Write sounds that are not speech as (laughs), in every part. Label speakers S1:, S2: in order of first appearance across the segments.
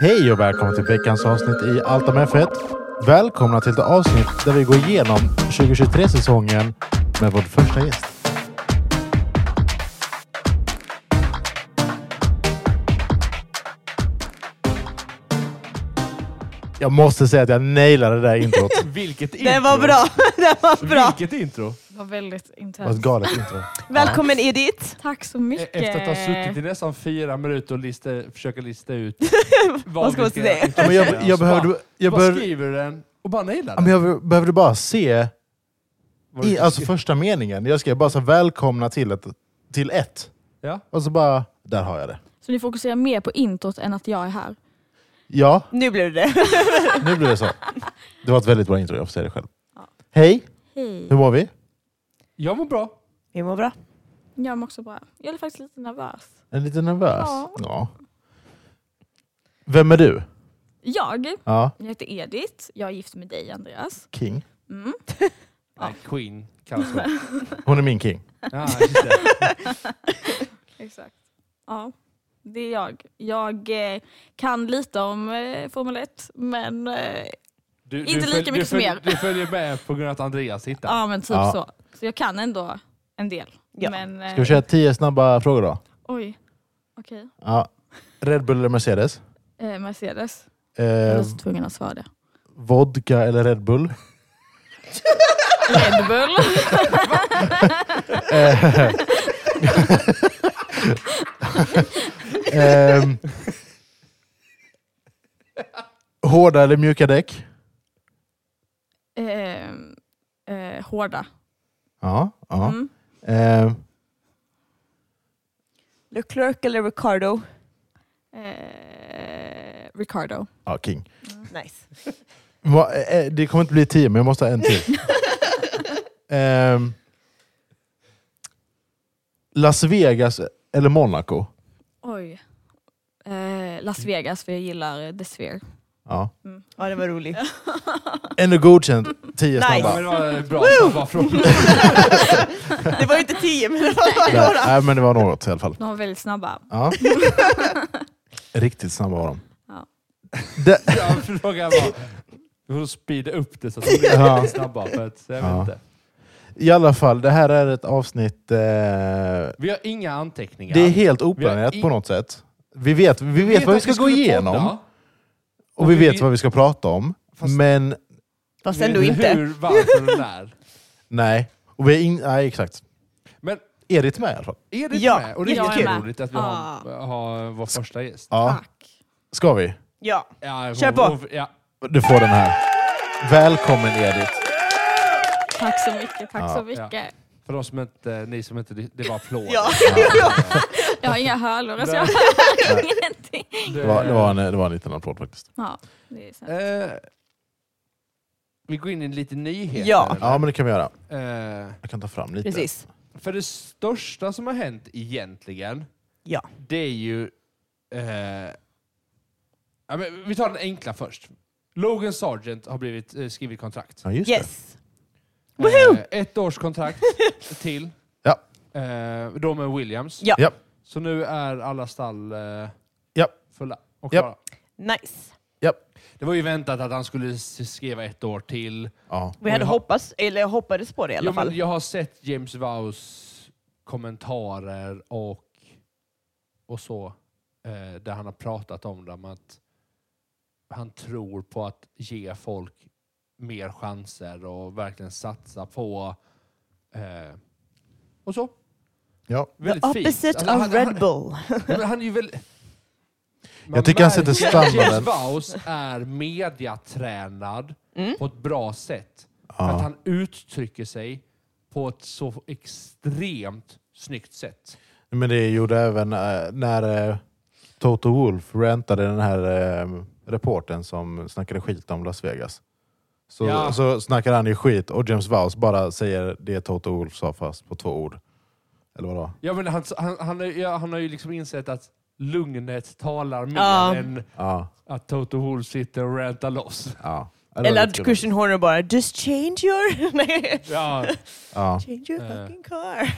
S1: Hej och välkommen till veckans avsnitt i Allt om F1. Välkomna till ett avsnitt där vi går igenom 2023-säsongen med vår första gäst. Jag måste säga att jag nailade det där
S2: (laughs)
S1: introt.
S2: Vilket intro!
S3: Det var bra. (laughs) Det var bra.
S2: Vilket intro!
S4: Det var väldigt
S1: Det var ett
S4: intensivt.
S1: galet
S2: (laughs)
S1: intro.
S3: Välkommen Edith.
S4: Tack så
S2: E-
S4: mycket.
S2: Efter att ha suttit i nästan fyra minuter och lista, försöka lista ut
S3: (laughs) Vad ska man säga?
S1: Ja, Men jag, jag, behövde, jag,
S2: Jag bara
S1: behövde,
S2: skriver den och bara nailar
S1: ja, men jag behövde bara se I, alltså första meningen. Jag skrev bara så här, välkomna till ett, till ett.
S2: Ja.
S1: Och så bara, där har jag det.
S4: Så ni fokuserar mer på introt än att jag är här.
S1: Ja,
S3: Nu blev det
S1: nu blir det så. Det var ett väldigt bra intro, jag får säga det själv. Hej,
S4: Hej.
S1: hur mår vi?
S2: Jag mår bra.
S3: Vi mår bra.
S4: Jag mår också bra. Jag är faktiskt lite nervös.
S1: Är du lite nervös?
S4: Ja.
S1: Vem är du?
S4: Jag,
S1: Ja,
S4: jag heter Edith. Jag är gift med dig Andreas.
S1: King.
S4: Mm. Ja.
S2: Nej, Queen kallas
S3: (laughs)
S2: hon.
S1: Hon är min king.
S4: Eh.
S2: Ja, just det.
S4: Exakt. Ja, det är jag. Jag eh, kan lite om eh, Formel 1, men eh,
S2: Du-
S4: Inte lika
S2: följ-
S4: mycket som
S2: följ-
S4: er.
S2: Du följer med på grund av att Andreas hittar.
S4: ja, men typ
S1: Ja.
S4: så. Så jag kan ändå en del.
S3: Ja.
S4: Men, eh,
S1: Ska vi köra tio snabba frågor då?
S4: Oj, okej.
S1: Ja. Red Bull eller Mercedes?
S4: Eh, Mercedes. Jag var
S1: Eh,
S4: så tvungen att svara det.
S1: vodka eller Red
S4: (laughs)
S1: Bull?
S4: Red Bull. (laughs)
S1: (laughs) Ehm. hårda eller mjuka däck?
S4: Ehm, eh, hårda.
S1: Ja. ja.
S4: Mm.
S1: Ehm.
S3: Leclerc eller Ricardo?
S4: Eh, Ricardo.
S1: Ja, king.
S3: Nice.
S1: Va, eh, det kommer inte bli tio, men jag måste ha en till. Ehm, Las Vegas eller Monaco?
S4: Oj. Eh, Las Vegas, för jag gillar The Sphere.
S1: Ja.
S3: Ja, det var (laughs) roligt.
S1: Ändå godkänt. Tio
S3: Nice.
S1: snabba.
S2: Ja, men det var bra snabba
S3: (laughs)
S2: frågor.
S3: Det var ju inte tio, men det var bara
S1: Nej,
S3: några.
S1: nej, men det var något i alla fall.
S4: De var väldigt snabba.
S1: Ja. Riktigt snabba var de.
S4: Ja.
S1: Det-
S2: Ja, Frågan var, du får speeda upp det så att det blir
S1: Ja.
S2: lite snabba. För att, jag vet
S1: Ja.
S2: inte.
S1: I alla fall, det här är ett avsnitt... Eh,
S2: Vi har inga anteckningar.
S1: Det är helt oplanerat på något sätt. Vi vet, vi vet vad vi
S2: att
S1: ska gå
S2: skulle
S1: igenom
S2: podda.
S1: och vi vet vad vi ska prata om.
S2: Fast-
S1: Men
S3: Fast
S2: Vi
S3: ändå
S2: vet
S3: inte.
S2: Hur, varför och när.
S1: nej. Och vi är in, nej, exakt.
S2: Men
S1: Edith med i alla fall.
S2: är det
S3: Ja,
S2: med? Och det är
S4: jag är
S2: lite
S4: med.
S2: roligt att vi har, har vår första gäst.
S1: Ja.
S4: Tack.
S1: Ska vi?
S3: Ja.
S2: Ja, hon-
S3: Kör på.
S2: hon- Ja.
S1: Du får den här. Välkommen Edith.
S4: Tack så mycket. Tack
S1: Ja.
S4: så mycket.
S2: För de som inte, ni som inte, det var applåder. (laughs)
S3: Ja.
S4: Jag har inga hörlurar så jag
S2: Nej.
S4: hör ingenting.
S1: Det var, det var, en, det var en liten applåd faktiskt.
S4: Ja, det är sant.
S2: Eh, vi går in i lite nyheter.
S3: Ja.
S1: Ja men det kan vi göra.
S2: Eh,
S1: Jag kan ta fram lite.
S3: Precis.
S2: för det största som har hänt egentligen,
S3: Ja.
S2: det är ju... Eh, ja, men vi tar den enkla först. Logan Sargent har blivit eh, skrivit kontrakt.
S1: Ja, just det.
S3: Yes.
S2: Eh, ett års
S3: (laughs)
S2: kontrakt till.
S1: Ja.
S2: Eh, de är Williams.
S3: Ja.
S1: Ja.
S2: Så nu är alla stall eh,
S1: Ja.
S2: fulla och
S1: Ja.
S2: klara.
S3: Nice.
S2: Det var ju väntat att han skulle s- skriva ett år till.
S1: Ja.
S3: Vi hade
S2: Jag har-
S3: hoppats, eller jag hoppades på det i alla
S2: Jo, men
S3: fall.
S2: jag har sett James Vows kommentarer och, och så, eh, där han har pratat om dem att han tror på att ge folk mer chanser och verkligen satsa på eh, och så.
S1: Ja.
S2: Väldigt
S3: The
S2: fint.
S3: opposite
S2: Alltså, han-
S3: of Red
S2: han-
S3: Bull.
S2: Ja, men (laughs) han är ju väl... Man
S1: Jag tycker han sätter
S2: märker att
S1: standarden.
S2: James Vaus är mediatränad
S3: Mm.
S2: på ett bra sätt. För att
S1: Ja.
S2: han uttrycker sig på ett så extremt snyggt sätt.
S1: Men det gjorde även eh, när eh, Toto Wolf rantade den här eh, reporten som snackade skit om Las Vegas. Så,
S2: Ja.
S1: så snackar han ju skit och James Vowles bara säger det Toto Wolf sa fast på två ord. Eller vad det var.
S2: Ja, men han, han, han, har- ja, han har ju liksom insett att lugnet talar mer
S3: Ja.
S2: än
S1: Ja.
S2: att Toto Wolf sitter och rantar
S3: (laughs)
S2: loss.
S1: ja. Det var
S3: Eller
S1: lite
S3: att
S1: kul.
S3: Christian Horner bara, just change your... (laughs)
S2: Eh.
S3: Nej.
S2: Ja,
S1: Ja.
S3: Change your
S2: Eh.
S3: fucking car.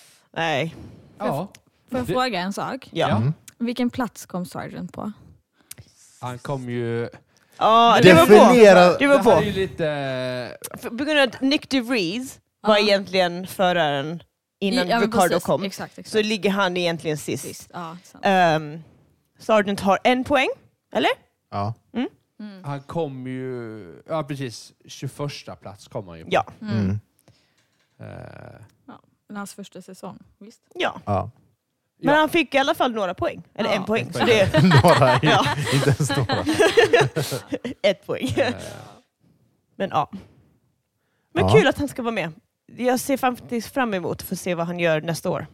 S3: (laughs) Nej.
S2: ja.
S4: Får jag
S2: Det-
S4: fråga en sak?
S3: Ja.
S1: Mm.
S4: Vilken plats kom Sargent på?
S2: Han kom ju...
S3: Ja,
S2: Men
S3: det var på.
S1: Definiera...
S3: Det var
S2: Det här är
S3: på.
S2: ju lite...
S3: För- På grund av att Nick DeVries var
S4: Ja.
S3: egentligen föraren innan
S4: Ja, men
S3: Ricardo
S4: precis.
S3: kom.
S4: Exakt, exakt.
S3: Så ligger han egentligen sist.
S4: Sist. Ja, sant.
S3: Ehm, Sargent har en poäng.
S1: Ja.
S4: Mm.
S2: Han kom ju... Ja, precis. 21 plats kom han ju på.
S3: Ja.
S4: Mm.
S1: Mm.
S2: Eh,
S4: Men Hans första säsong, visst?
S3: ja.
S1: Ja. (laughs)
S3: Men
S2: Ja.
S3: han fick i alla fall några poäng. Eller
S4: Ja,
S3: en poäng.
S2: ett
S3: Så
S2: poäng.
S3: det är
S1: (laughs) Några, i-
S3: Ja.
S1: inte ens några.
S3: ett poäng.
S2: eh,
S3: Men ja. Men
S1: Ja.
S3: kul att han ska vara med. Jag ser faktiskt fram emot att få se vad han gör nästa år.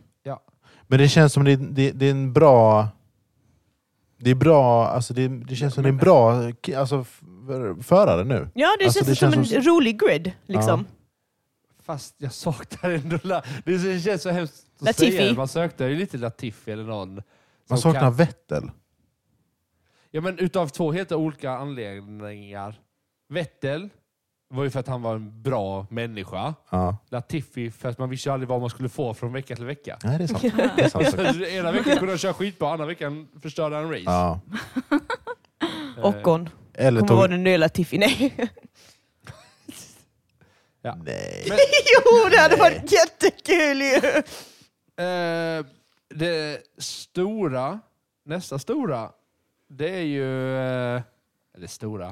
S1: Men det känns som det, det, det är en bra... Det är bra, alltså det, det känns som det är en bra ki- alltså, f- förare nu.
S3: Ja, det
S1: Alltså,
S3: känns
S1: det
S3: som
S1: känns
S3: en rolig grid. Liksom.
S2: Fast jag saknar ändå... La, det så- det känns så hemskt att
S3: Latifi.
S2: säga. det. Man sökte ju lite Latifi eller någon.
S1: Man
S2: som
S1: saknar
S2: kan-
S1: Vettel.
S2: Ja, men utav två helt olika anledningar. Vettel var ju för att han var en bra människa.
S1: Ja.
S2: Latifi för att man visste ju aldrig vad man skulle få från vecka
S1: (laughs)
S2: till vecka.
S1: Nej, det är sant. Det är sant.
S2: Så ena veckan kunde han köra skitbra, andra veckan förstörde han race.
S1: Ja.
S2: Eh,
S3: Ockon.
S1: Eller
S3: Kommer vara
S1: tog...
S3: den nya Latifi. Nej. (laughs)
S1: Nej.
S2: Men-
S3: jo, det hade varit jättekul ju!
S2: Eh, det stora, nästa stora, det är ju... Eh, eller stora.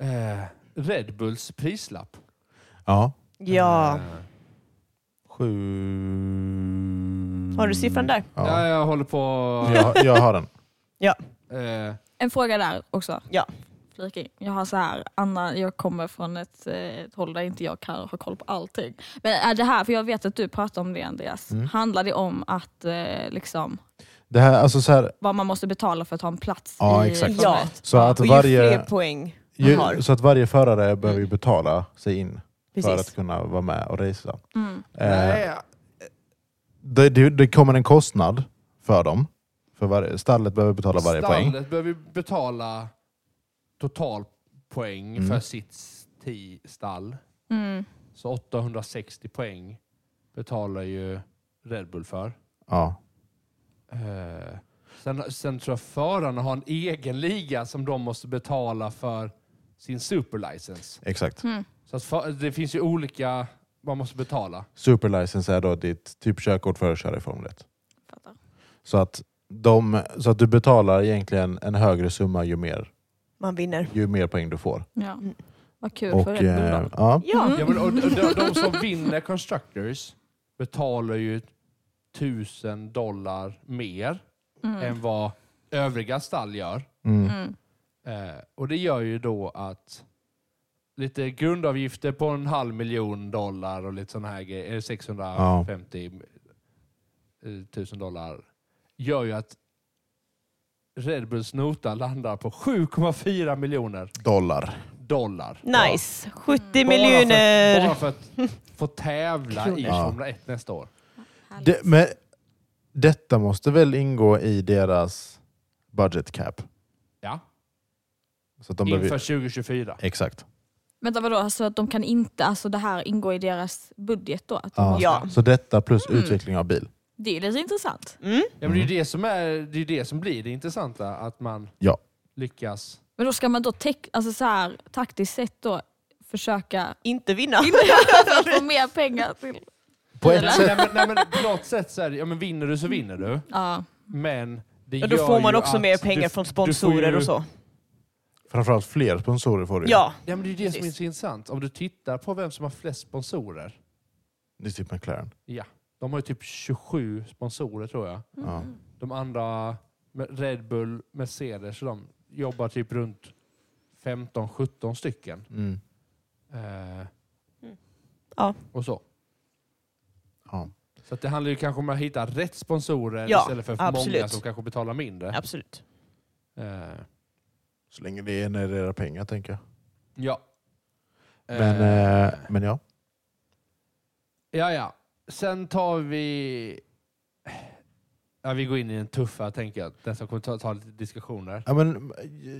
S2: Eh, Red Bulls prislapp.
S1: Ja.
S3: Ja.
S2: Eh,
S1: Sju...
S3: Har du siffran där?
S2: ja,
S1: Ja.
S2: jag håller på...
S1: Jag, jag har den.
S2: Eh,
S4: En fråga där också.
S3: Ja.
S4: Flika in. Jag har så här, Anna, jag kommer från ett, eh, ett håll där inte jag kan ha koll på allting. Men är det här, för jag vet att du pratar om det Andreas,
S1: Mm.
S4: handlar det om att eh, liksom,
S1: Det här, alltså så här,
S4: vad man måste betala för att ha en plats
S1: Ja,
S4: i
S1: exakt.
S3: Ja.
S1: så att
S3: Och ju fler
S1: varje...
S3: poäng man har.
S1: Ju, så att varje förare behöver ju betala sig in för att
S3: Precis.
S1: kunna vara med och racea.
S4: Mm.
S1: Eh,
S2: nej,
S1: det, det, det kommer en kostnad för dem. För varje, stallet behöver betala varje poäng.
S2: Stallet behöver ju betala totalpoäng
S1: Mm.
S2: för sitt sti- stall.
S4: Mm.
S2: Så 860 poäng betalar ju Red Bull för.
S1: Ja.
S2: Eh, sen, sen tror jag förarna har en egen liga som de måste betala för sin superlicens.
S1: Exakt.
S4: Mm.
S2: Så att för, det finns ju olika man måste betala.
S1: Superlicense är då ditt typ körkort för att köra i Formel 1.
S4: Fattar.
S1: Så att, de, så att du betalar egentligen en högre summa ju mer,
S3: Man vinner.
S1: ju mer poäng du får.
S4: Ja. Vad kul
S1: Mm. Och,
S4: för Red Bull
S1: eh,
S4: då.
S1: ja,
S3: Ja.
S2: Ja, Mm. men, och, och, de, de som vinner Constructors betalar ju tusen dollar mer
S4: Mm.
S2: än vad övriga stall gör.
S1: mm,
S4: Mm.
S2: Eh, och det gör ju då att lite grundavgifter på en halv miljon dollar och lite sådana här grejer, eh, 650 eh, tusen dollar, gör ju att Red Bulls nota landar på 7,4 miljoner
S1: dollar.
S2: dollar.
S3: Mm. Nice. 70
S2: Bara för- Bara
S3: miljoner.
S2: för att få tävla i
S1: Kronor.
S2: Formel 1 nästa år.
S1: Det, men, detta måste väl ingå i deras budget cap?
S2: Ja,
S1: Så att de
S2: inför
S1: behöver,
S2: 2024.
S1: exakt.
S4: Vänta vadå, alltså att de kan inte, alltså det här ingår i deras budget då? Att de
S1: Ja.
S4: måste,
S3: Ja.
S1: Så detta plus
S4: Mm.
S1: utveckling av bil.
S4: Det är ju lite intressant.
S3: Mm.
S2: Ja, men det är ju det som, är, det är ju det som blir det intressanta, att man
S1: Ja.
S2: lyckas
S4: Men då ska man då tek- alltså så här, taktiskt sett då (laughs) försöka
S3: Inte vinna.
S4: få mer pengar till...
S1: På ett
S4: Eller?
S1: sätt,
S2: nej, men, nej, men på något sätt så är det, ja, men vinner du så vinner du.
S4: Ja.
S2: Men det
S3: (laughs) Och då
S2: gör
S3: får man
S2: ju
S3: också
S2: att
S3: mer pengar
S2: du,
S3: från
S2: du får
S3: sponsorer
S2: ju-
S3: och så.
S1: framförallt fler sponsorer får du ju.
S3: Ja.
S2: Ja, men det är ju det som är
S3: Precis.
S2: så intressant. Om du tittar på vem som har flest sponsorer.
S1: Det är typ McLaren.
S2: De har ju typ 27 sponsorer tror jag.
S1: Ja.
S2: De andra, med Red Bull, Mercedes, och de jobbar typ runt 15-17 stycken.
S1: Mm.
S2: Eh,
S3: Mm. Ja.
S2: Och så.
S1: Ja.
S2: Så att det handlar ju kanske om att hitta rätt sponsorer
S3: Ja,
S2: istället för många
S3: absolut.
S2: som kanske betalar mindre.
S3: Absolut.
S2: Eh,
S1: Så länge det genererar pengar tänker jag.
S2: ja.
S1: Men,
S2: Eh,
S1: eh, men ja.
S2: Ja, ja. Sen tar vi... Ja, vi går in i den tuffa, tänker jag. Den som kommer ta, ta lite diskussioner.
S1: Ja, men,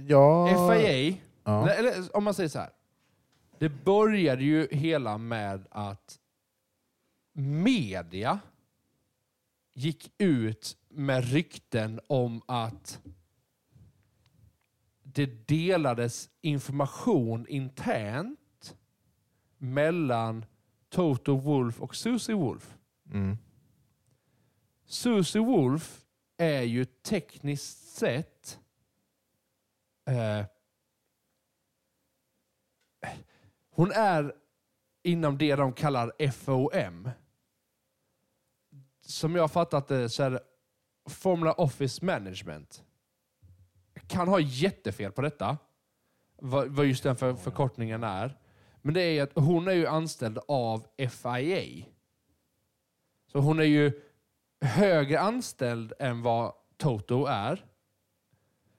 S1: ja.
S2: FIA,
S1: Ja.
S2: E. nej, eller om man säger så här. Det började ju hela med att media gick ut med rykten om att det delades information internt mellan Toto Wolf och Susie Wolf.
S1: Mm.
S2: Susie Wolf är ju tekniskt sett eh, hon är inom det de kallar FOM. Som jag har fattat det så är det Formula Office Management. Jag kan ha jättefel på detta, vad, vad just den för, förkortningen är. Men det är ju att hon är ju anställd av FIA. Så hon är ju högre anställd än vad Toto är.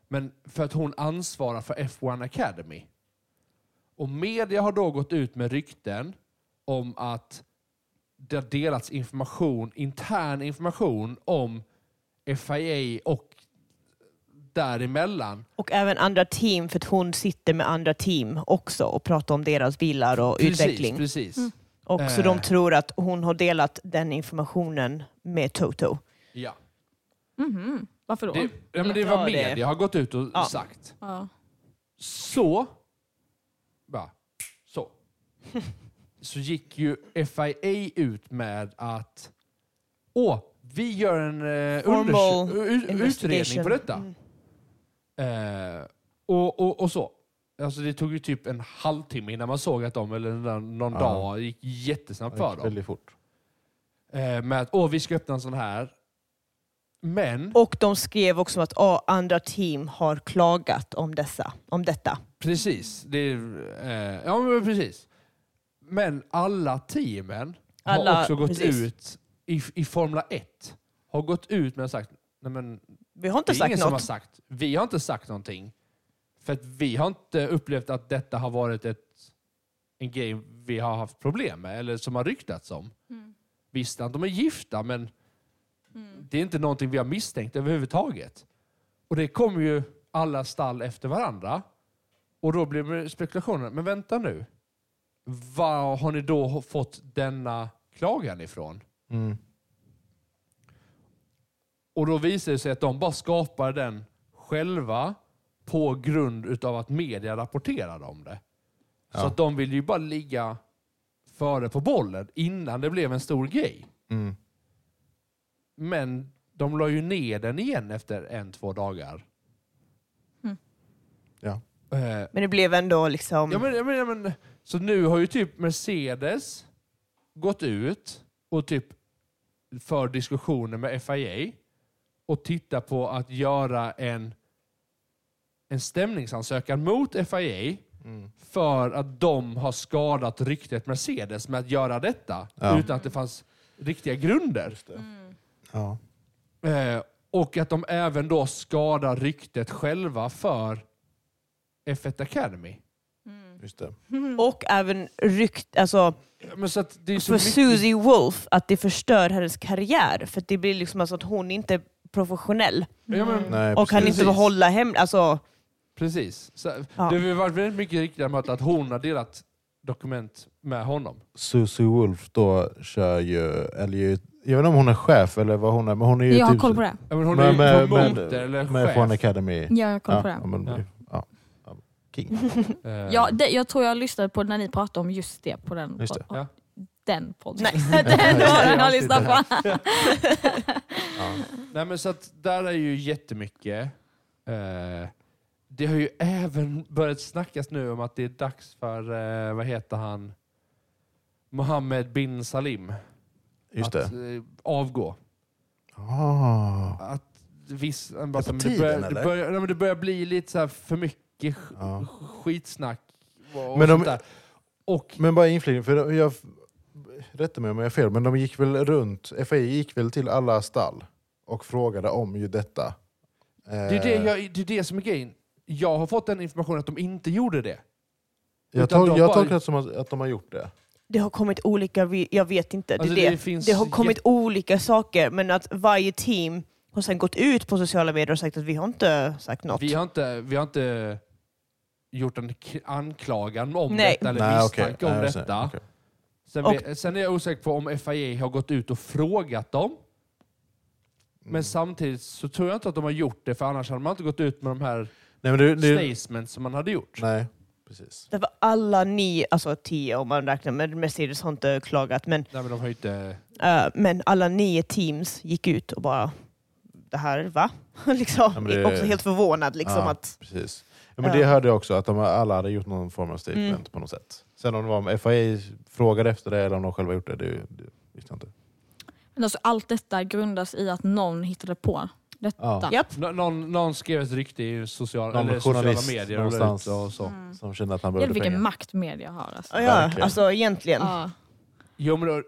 S2: Men för att hon ansvarar för F1 Academy. Och media har då gått ut med rykten om att det har delats information, intern information om FIA och däremellan
S3: Och även andra team, för att hon sitter med andra team också och pratar om deras bilar och utveckling. Mm.
S2: Precis, precis.
S3: Och så
S2: Eh.
S3: de tror att hon har delat den informationen med Toto.
S2: Ja.
S4: Mhm. Varför då?
S2: Det, ja, men det
S3: Ja,
S2: var
S3: det-
S2: media har gått ut och
S3: Ja.
S2: sagt.
S4: Ja.
S2: Så. Bara,
S1: (laughs)
S2: så. Så gick ju FIA ut med att åh, vi gör en eh,
S3: Formal
S2: undersö- u- u- utredning
S3: Investigation.
S2: på detta.
S3: Mm.
S1: Mm.
S2: Eh, och, och, och så. Alltså det tog ju typ en halvtimme innan man såg att de, eller någon någon
S1: Ja.
S2: dag, det gick jättesnabbt
S1: Det
S2: för
S1: gick
S2: dem.
S1: väldigt fort.
S2: Eh, med att åh, vi ska öppna en sån här. Men
S3: Och de skrev också att ah, andra team har klagat om, dessa, om detta.
S2: Precis. Det, är, eh, ja, men precis. Men alla teamen har
S3: Alla-
S2: också gått
S3: precis.
S2: ut i, i Formula 1. Har gått ut med och sagt Nej, men,
S3: Vi har
S2: det
S3: inte
S2: är ingen
S3: sagt
S2: som har
S3: något.
S2: sagt. Vi har inte sagt någonting. För att vi har inte upplevt att detta har varit ett, en grej vi har haft problem med eller som har ryktats om.
S4: Mm.
S2: Visst att de är gifta, men
S4: Mm.
S2: det är inte någonting vi har misstänkt överhuvudtaget. Och det kommer ju alla stall efter varandra. Och då blir det spekulationer. Men vänta nu. Var har ni då fått denna klagan ifrån?
S1: Mm.
S2: Och då visar det sig att de bara skapar den själva på grund utav att media rapporterade om det. Så
S1: Ja.
S2: att de vill ju bara ligga före på bollen innan det blev en stor grej.
S1: Mm.
S2: Men de la ju ner den igen efter en, två dagar.
S4: Mm.
S1: Ja.
S2: Eh,
S3: Men det blev ändå liksom...
S2: Ja, men, ja, men, ja, men, så nu har ju typ Mercedes gått ut och typ för diskussioner med FIA och tittar på att göra en, en stämningsansökan mot FIA
S1: Mm.
S2: för att de har skadat ryktet Mercedes med att göra detta
S1: Ja.
S2: utan att det fanns riktiga grunder.
S4: Mm.
S1: Ja.
S2: Eh, och att de även då skadar ryktet själva för F1 Academy.
S4: Mm.
S1: Just det.
S3: Och även rykt, alltså,
S2: Men så att det är så
S3: för Susie Wolf, att det förstör hennes karriär. För att det blir liksom alltså att hon inte är professionell
S2: Ja, men,
S1: Nej,
S3: och kan
S1: precis.
S3: inte behålla hem... Alltså,
S2: Precis. Så,
S3: Ja.
S2: Det har ju varit väldigt mycket riktigt med att hon har delat dokument med honom.
S1: Susie Wolf då kör ju, eller ju, jag vet inte om hon är chef eller vad hon är, men hon är ju
S4: Jag har
S1: typ
S4: koll på det.
S2: Ja, Men hon
S1: Men-
S2: är ju
S1: men-
S2: promoter
S1: men-
S2: eller
S1: med F1
S2: chef.
S1: Academy.
S4: Ja, jag har koll
S1: Ja,
S4: på det.
S1: ja, men,
S2: Ja.
S1: ja. Ja, King.
S2: Eh,
S4: Ja, det, jag tror jag lyssnade på när ni pratade om just det på den,
S1: Just det.
S4: på-
S2: Ja.
S4: den podden.
S3: Nej.
S4: (laughs)
S1: (laughs)
S4: den
S1: Ja,
S4: har
S1: just det.
S4: jag lyssnat på.
S2: Nej, men så att där är ju jättemycket. Eh, det har ju även börjat snackas nu om att det är dags för, eh, vad heter han, Mohammed bin Salim
S1: Just
S2: att
S1: det.
S2: eh, avgå.
S1: Ah,
S2: Att viss, men
S1: på
S2: det,
S1: tiden,
S2: börjar, det,
S1: eller?
S2: börjar, nej, men det börjar bli lite så här för mycket
S1: ja.
S2: skitsnack. Och
S1: Men de-
S2: sånt där. Och
S1: Men bara inflikning, för jag rätta mig om jag är fel, men de gick väl runt, FAI gick väl till alla stall och frågade om ju detta.
S2: det, är det,
S1: Eh.
S2: jag, det är det som är grejen. Jag har fått den informationen att de inte gjorde det.
S1: jag
S2: utan
S1: tol-
S2: de
S1: jag
S2: bara-
S1: tolkar det som att, att de har gjort det.
S3: (laughs) det har kommit olika... vi- Jag vet inte. Det, är
S2: Alltså,
S3: det.
S2: det finns
S3: det har kommit
S2: jätte-
S3: olika saker, men att varje team har sen gått ut på sociala medier och sagt att vi har inte sagt något.
S2: Vi har inte, vi har inte gjort en k- anklagan om
S3: Nej.
S2: detta eller
S1: okej.
S2: misstanke om
S1: Nej, jag ser.
S2: detta.
S1: Okej.
S2: Sen,
S3: Och-
S2: vet- sen är jag osäker på om FIA har gått ut och frågat dem
S1: Mm.
S2: Men samtidigt så tror jag inte att de har gjort det för annars hade man inte gått ut med de här
S1: Nej, men du, du,
S2: statements som man hade gjort.
S1: nej, precis.
S3: Därför alla ni, alltså tio om man räknar med Mercedes har inte klagat, men,
S2: Nej men de har ju inte...
S3: eh, men alla nio teams gick ut och bara det här, va? (laughs) liksom.
S1: Ja, men det-
S3: Också helt förvånad liksom
S1: Ja.
S3: att
S1: precis. Ja, men
S3: Ja.
S1: Det hörde jag också, att de alla hade gjort någon form av statement
S3: Mm.
S1: på något sätt. Sen om det var om FAI frågade efter det eller om de själva gjort det, det, det visste jag inte.
S4: Men alltså, allt detta grundas i att någon hittade på.
S1: Ja.
S3: Japp.
S2: Nå- Någon, någon skrev ett rykte i sociala,
S1: Någon
S2: eller sociala
S1: journalist
S2: medier och, la ut
S1: någonstans.
S2: det och så.
S4: Mm.
S1: Som kände att han
S4: Jävlar
S1: behövde
S4: vilken
S1: pengar.
S4: makt media har. Alltså.
S3: Ja, ja
S1: Verkligen.
S3: alltså egentligen.
S4: Ja.
S2: Jo, men då,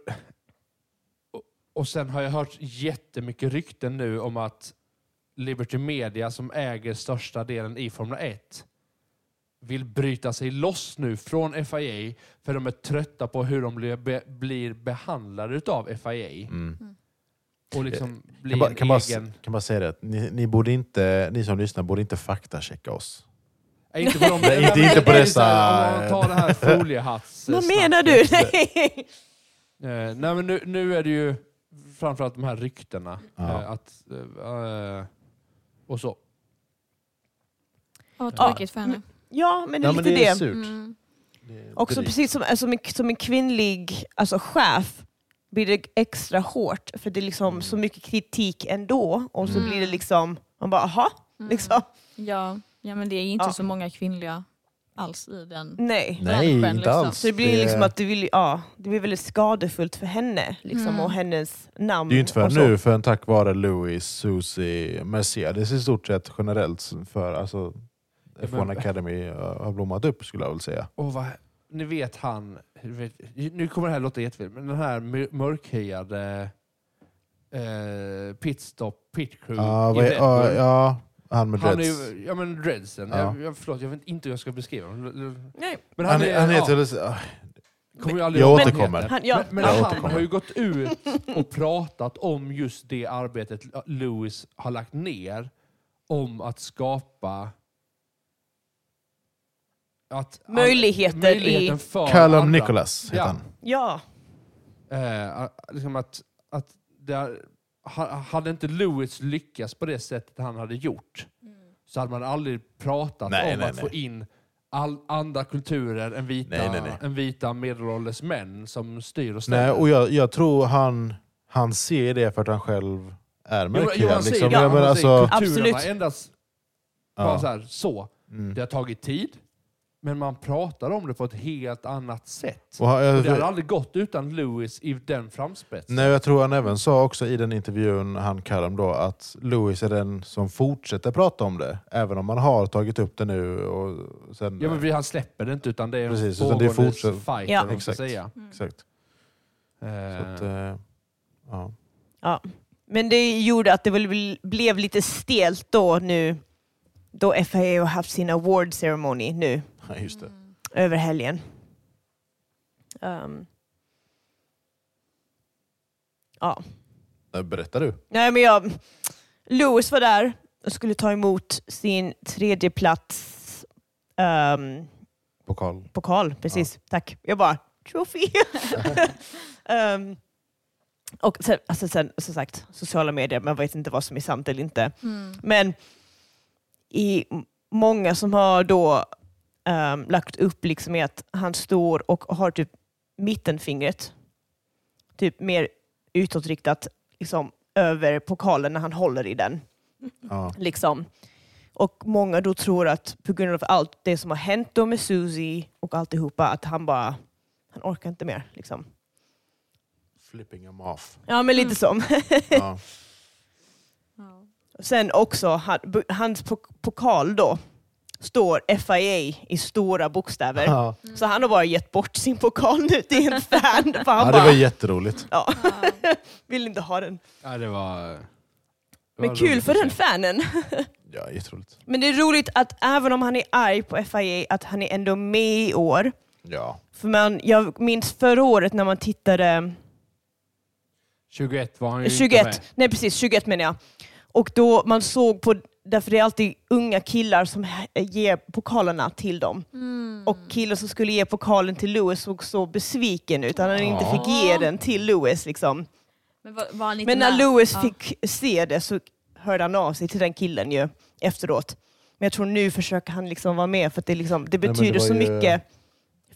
S2: och, och sen har jag hört jättemycket rykten nu om att Liberty Media som äger största delen i Formel 1 vill bryta sig loss nu från FIA för de är trötta på hur de blir, be, blir behandlade utav FIA.
S1: Mm.
S2: Och liksom blir
S1: Eh, Kan, bara,
S2: en
S1: kan, bara,
S2: egen...
S1: kan bara säga det, att ni, ni, borde inte, ni som lyssnar borde inte faktachecka oss.
S2: Nej, inte på,
S1: (laughs)
S2: de,
S1: Nej, inte-
S2: men
S1: inte på
S2: det är
S1: dessa-
S2: så här, Om man tar det här foliehatts...
S3: Vad menar du? Nej.
S2: Eh, nej men nu, nu är det ju framförallt de här ryktena.
S1: Ja.
S2: Eh, att, eh, och så.
S4: Ja, Vad
S3: Ja.
S4: tråkigt för henne.
S3: (laughs) Ja, men det är
S1: Ja, men
S3: lite
S1: det är
S3: det.
S1: surt.
S4: Mm.
S1: Det är
S3: Också
S1: drygt.
S3: precis som, som, en, som en kvinnlig alltså, chef blir det extra hårt för det är liksom
S1: Mm.
S3: så mycket kritik ändå och så
S4: Mm.
S3: blir det liksom, man bara aha,
S4: Mm.
S3: liksom.
S4: Ja. ja, men det är inte
S3: Ja.
S4: så många kvinnliga alls i den.
S3: Nej.
S1: Nej,
S4: Branschen,
S1: inte
S4: liksom.
S1: alls.
S3: Så det blir liksom att det, vill, ja, det blir väldigt skadefullt för henne liksom,
S4: Mm.
S3: och hennes namn.
S1: Det är ju inte
S3: och
S1: förrän
S3: så.
S1: nu, förrän tack vare Louis, Susie, Mercedes i stort sett generellt för alltså,
S2: men-
S1: F1 Academy eh, har blommat upp skulle jag väl säga.
S2: Och vad, ni vet han, ni vet, nu kommer det här låta jättefel, men den här mör- mörkhyade eh, pitstop, pitcrew
S1: Ja,
S2: i
S1: vad-
S2: Red
S1: ja,
S2: Bull.
S1: ja, han med
S2: Han är
S1: dreads.
S2: ju, ja men dreadsen.
S1: Ja.
S2: Jag, jag, förlåt, jag vet inte hur jag ska beskriva honom.
S3: Nej.
S2: Men
S1: Han, är- han
S2: ja,
S1: heter... Ja.
S2: kommer ju aldrig
S1: Jag
S2: ihåg vad han
S1: återkommer.
S2: heter.
S3: Han, ja.
S2: Men, men
S1: Jag
S2: han
S1: återkommer.
S2: har ju gått ut och pratat om just det arbetet Lewis har lagt ner om att skapa att
S3: Möjligheter i-
S2: möjligheten för
S1: Callum
S2: alla.
S1: Nicholas heter
S2: Ja.
S1: han.
S3: ja.
S2: Eh, a- liksom att, att det, har- ha- hade inte Lewis lyckats på det sättet han hade gjort så hade man aldrig pratat
S1: Nej,
S2: om
S1: nej,
S2: att
S1: nej.
S2: få in all, andra kulturer än vita,
S1: Nej, nej, nej.
S2: än vita medelålders män som styr och ställer.
S1: Nej, och jag, jag tror han, han ser det för att han själv är
S2: Jo, jo, han
S1: mörkhyad.
S2: säger
S1: Liksom.
S2: det.
S1: Ja,
S2: Han
S1: men
S2: säger
S1: alltså,
S2: kulturen har
S3: Absolut.
S2: ändrats. Bara så,
S1: ja.
S2: här, så.
S1: Mm.
S2: Det har tagit tid, men man pratar om det på ett helt annat sätt.
S1: Och han-
S2: Och det hade
S1: jag,
S2: aldrig gått utan Lewis i den framspetsen.
S1: nej, jag tror han även sa också i den intervjun, han Callum då, att Louis är den som fortsätter prata om det. Även om man har tagit upp det nu. Och sen,
S2: Ja, men vi- han släpper det inte utan det är
S1: Precis,
S2: en
S1: utan det är
S2: pågående
S1: fortsatt-
S2: fight.
S3: Ja.
S2: eller vad man ska
S1: Exakt.
S2: Säga.
S4: Mm.
S1: Exakt. Så
S2: Eh,
S1: att, eh, ja. (laughs)
S3: Men det gjorde att det väl blev lite stelt då nu då FIA har haft sin award ceremony nu
S1: Ja, just det.
S3: över helgen. Ehm. ja.
S1: Nej, Berättar du?
S3: Nej, men jag... Lewis var där och skulle ta emot sin tredje plats ehm,
S1: Pokal.
S3: pokal. Precis, tack. Jag bara, trophy! Ehm, och sen, alltså sen, som sagt, sociala medier, man vet inte vad som är sant eller inte.
S4: Mm.
S3: Men i m- många som har då ehm, lagt upp liksom är att han står och har typ mittenfingret, typ mer utåtriktat, liksom, över pokalen när han håller i den.
S1: Ja.
S3: Liksom. Och många då tror att på grund av allt det som har hänt då med Susie och alltihopa, att han bara, han orkar inte mer. Liksom.
S1: Flipping him off.
S3: Ja, men lite
S4: Mm.
S3: så.
S2: (laughs)
S1: Ja.
S4: Ja.
S3: (laughs) Sen också, han, bu- hans pok- pokal då står FIA i stora bokstäver.
S1: Ja.
S3: Så han har bara gett bort sin pokal nu till
S4: (laughs)
S3: en fan. För
S1: ja,
S3: han
S1: det
S3: bara,
S1: var jätteroligt.
S3: ja,
S4: Ja.
S3: (laughs) vill inte ha den.
S2: ja, det var... det
S3: Men
S2: var
S3: kul
S2: roligt
S3: för
S2: att
S3: den
S2: se.
S3: fanen.
S1: Ja, jätteroligt.
S3: Men det är roligt att även om han är arg på FIA, att han är ändå med i år.
S1: Ja.
S3: För man, jag minns förra året när man
S1: Mm,
S3: tittade
S2: 21 var han ju inte
S3: 21,
S2: med.
S3: nej precis 21 menar jag. Och då man såg på, därför det är alltid unga killar som he- ger pokalerna till dem.
S4: Mm.
S3: Och killen som skulle ge pokalen till Lewis såg så besviken ut. Han hade inte
S1: Ja.
S3: fick ge den till Lewis liksom.
S4: Men var, var han inte
S3: Men när
S4: med?
S3: Lewis
S4: Ja.
S3: fick se det så hörde han av sig till den killen ju efteråt. Men jag tror nu försöker han liksom vara med för att det, liksom, det
S1: men det
S3: betyder
S1: var
S3: så
S1: ju-
S3: mycket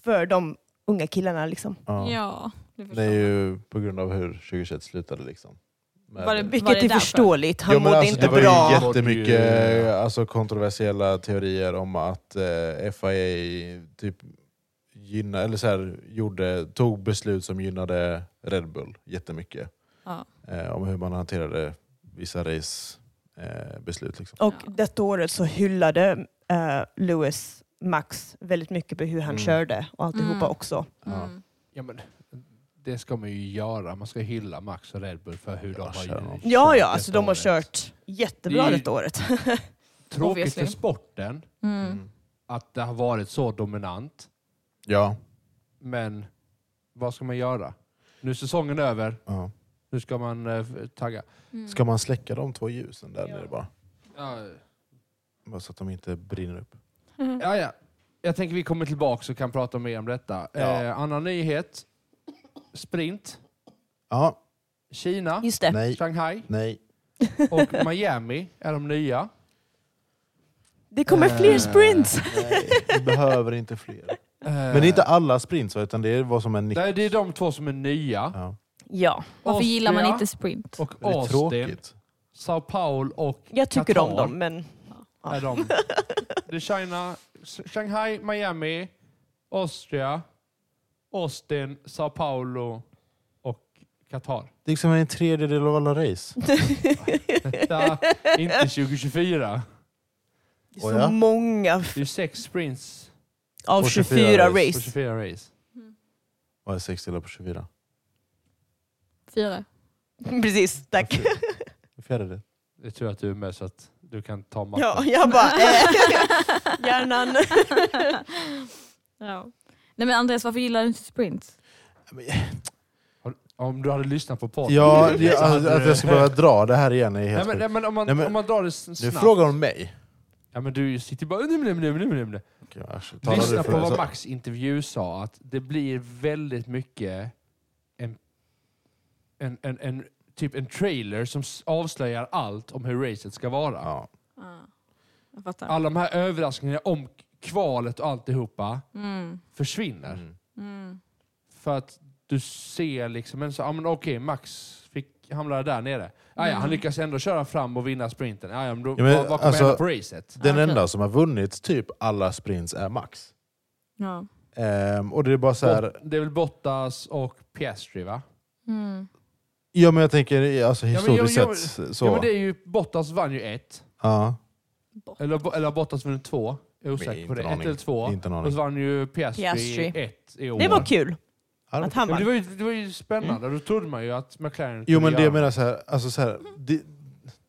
S3: för de unga killarna. Liksom.
S1: Ja.
S4: Ja, det
S1: Det
S4: förstår
S1: är
S4: man.
S1: ju på grund av hur 2021 slutade liksom. Med-
S4: Var det-
S3: Vilket är
S4: därför?
S3: förståeligt. Han
S1: Jo, men
S3: mådde
S1: alltså,
S3: inte
S1: det
S3: bra.
S1: var ju jättemycket alltså, kontroversiella teorier om att eh, FIA typ gynna, eller så här, gjorde, tog beslut som gynnade Red Bull jättemycket.
S4: Ja.
S1: Eh, om hur man hanterade vissa race eh, beslut. Liksom.
S3: Och
S4: Ja.
S3: detta året så hyllade eh, Lewis Max väldigt mycket på hur han
S1: Mm.
S3: körde och alltihopa
S4: Mm.
S3: också.
S1: Ja.
S4: Mm.
S2: Ja, men, det ska man ju göra. Man ska hylla Max och Red Bull för hur de
S1: Ja,
S2: har
S1: kör dem.
S2: gjort
S3: Ja, ja,
S2: detta
S3: alltså de har
S2: året.
S3: kört jättebra
S2: Det är ju-
S3: detta året.
S2: Tråkigt för
S4: Obviously.
S2: sporten
S4: Mm.
S2: att det har varit så dominant.
S1: Ja.
S2: Men vad ska man göra? Nu är säsongen över.
S1: ja.
S3: Mm.
S2: Nu ska man eh, tagga.
S4: Mm.
S1: Ska man släcka de två ljusen där
S3: Ja.
S1: nere bara?
S2: Ja,
S1: Bara så att de inte brinner upp.
S2: ja, ja. Jag tänker vi kommer tillbaka och kan prata mer om detta.
S1: Ja.
S2: Eh, annan nyhet. Sprint.
S1: Ja,
S2: Kina.
S3: Just det.
S1: nej,
S2: Shanghai.
S1: nej.
S2: Och (laughs) Miami är de nya.
S3: Det kommer
S1: Eh.
S3: fler sprints!
S1: Nej,
S3: (laughs)
S1: vi behöver inte fler.
S2: Eh,
S1: Men det är inte alla sprints va, utan det är vad som är nick.
S2: Nej, det är de två som är nya.
S1: Ja.
S3: Ja,
S4: (laughs) Varför gillar man
S2: Austria
S4: inte sprint?
S2: Och
S1: Det är
S2: Austin,
S1: tråkigt.
S2: Sao Paulo och
S3: jag tycker
S2: Qatar
S3: om dem, men Ja.
S2: Är de. Det är China, S- Shanghai, Miami, Austria, Austin, Sao Paulo och Qatar.
S1: Det är liksom en tredjedel av alla race.
S2: Detta, (laughs) inte
S3: (laughs)
S2: 2024.
S3: det är så
S1: Och ja.
S3: många f-
S2: Det är sex sprints
S3: av
S1: Och
S3: 24,
S1: 24 race.
S2: på
S3: race.
S2: 24 race.
S1: Vad är sex delar på 24?
S4: Fyra.
S3: Precis, tack.
S1: En fjärdedel.
S2: Det är tur att du är med så att du kan ta matten.
S3: (laughs) Ja, jag bara...
S4: (laughs)
S3: Eh, hjärnan.
S4: Ja. Nej men Andreas, varför gillar du inte sprint?
S2: Om du hade lyssnat på podden. (laughs)
S1: Ja, alltså,
S2: Så hade
S1: att, att
S2: du-
S1: jag ska behöva dra det här igen är
S2: Nej,
S1: helt
S2: men,
S1: sjukt.
S2: nej, men, om, man,
S1: Nej, men-
S2: om man drar det snabbt.
S1: Du frågar om mig.
S2: Ja, men du sitter ju bara... "Nej, nej, nej, nej, nej, nej."
S1: Okej, Asch, alltså, talar du
S2: Lyssna
S1: för
S2: på
S1: det?
S2: vad
S1: Så-
S2: Max intervju sa, att det blir väldigt mycket en, en, en, en, typ en trailer som s- avslöjar allt om hur racet ska vara.
S1: Ja.
S4: Ja. Jag fattar.
S2: Alla de här överraskningarna om kvalet och alltihopa
S4: Mm.
S2: försvinner.
S1: Mm.
S4: Mm.
S2: För att du ser liksom, en så, ah, men okej, Max fick hamnade där nere. Ah, ja,
S4: Mm.
S2: Han lyckas ändå köra fram och vinna sprinten. Ah, ja, men då,
S1: Ja, men
S2: vad, vad kommer
S1: alltså-
S2: hända på racet?
S1: Den
S4: Okej.
S1: enda som har vunnit typ alla sprints är Max.
S4: Ja.
S1: Ehm, och det är bara så här,
S2: Bott- Det är väl Bottas och Piastri va?
S4: Mm.
S1: ja men jag tänker alltså
S2: men- ja, men-
S1: historiskt
S2: ja, men-
S1: sett så.
S2: Ja, men det är ju, Bottas vann ju ett.
S1: Ja,
S2: Eller, eller har Bottas vunnit två. Jag är osäker
S1: inte
S2: på det.
S1: en
S2: Ett
S1: aning.
S2: eller två.
S1: inte en
S2: Och
S1: aning.
S2: så vann ju Piastri,
S3: Piastri.
S2: ett i år.
S3: Det var kul
S1: Ja,
S3: att han
S2: Ja, men det,
S3: vann.
S2: var ju, det var ju spännande. Då trodde man ju att McLaren
S1: Jo
S2: kunde
S1: men det jag
S2: göra
S1: menar så här, alltså så här det,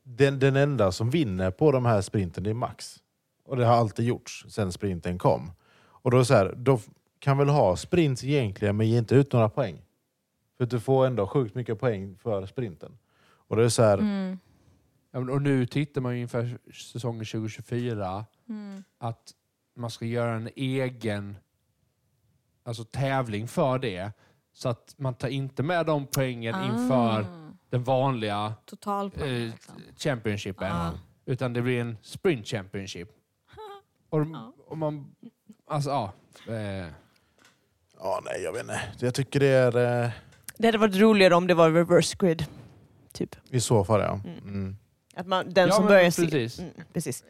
S1: den, den enda som vinner på de här sprinten det är Max. Och det har alltid gjorts sedan sprinten kom. Och då så här, då f- kan väl ha sprints egentligen men ge inte ut några poäng. För att du får ändå sjukt mycket poäng för sprinten. Och det är så här,
S4: Mm.
S2: Ja, men, och nu tittar man ju inför säsongen 2024
S4: Mm.
S2: att man ska göra en egen alltså, tävling för det. Så att man tar inte med de poängen inför
S4: Ah.
S2: den vanliga
S4: Totalpoäng.
S2: eh,
S4: liksom.
S2: championshipen.
S4: Ah.
S2: Utan det blir en sprint championship. Och,
S4: Ja.
S2: och man... Alltså, ja. Eh,
S1: ja nej jag vet inte. Jag tycker det är eh,
S3: Det hade varit roligare om det var reverse grid. Typ.
S1: i så fall ja.
S3: Mm.
S1: Mm.
S3: Att man, den
S2: Ja,
S3: som
S2: men
S3: börjar
S2: precis.
S3: se... Mm, precis.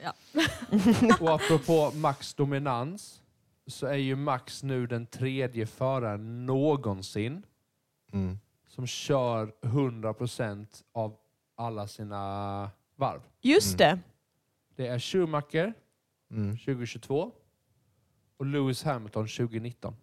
S2: och apropå Max dominans så är ju Max nu den tredje föraren någonsin
S1: Mm.
S2: som kör 100% av alla sina varv.
S3: Just det.
S2: Det är Schumacher
S1: Mm.
S2: 2022 och Lewis Hamilton 2019.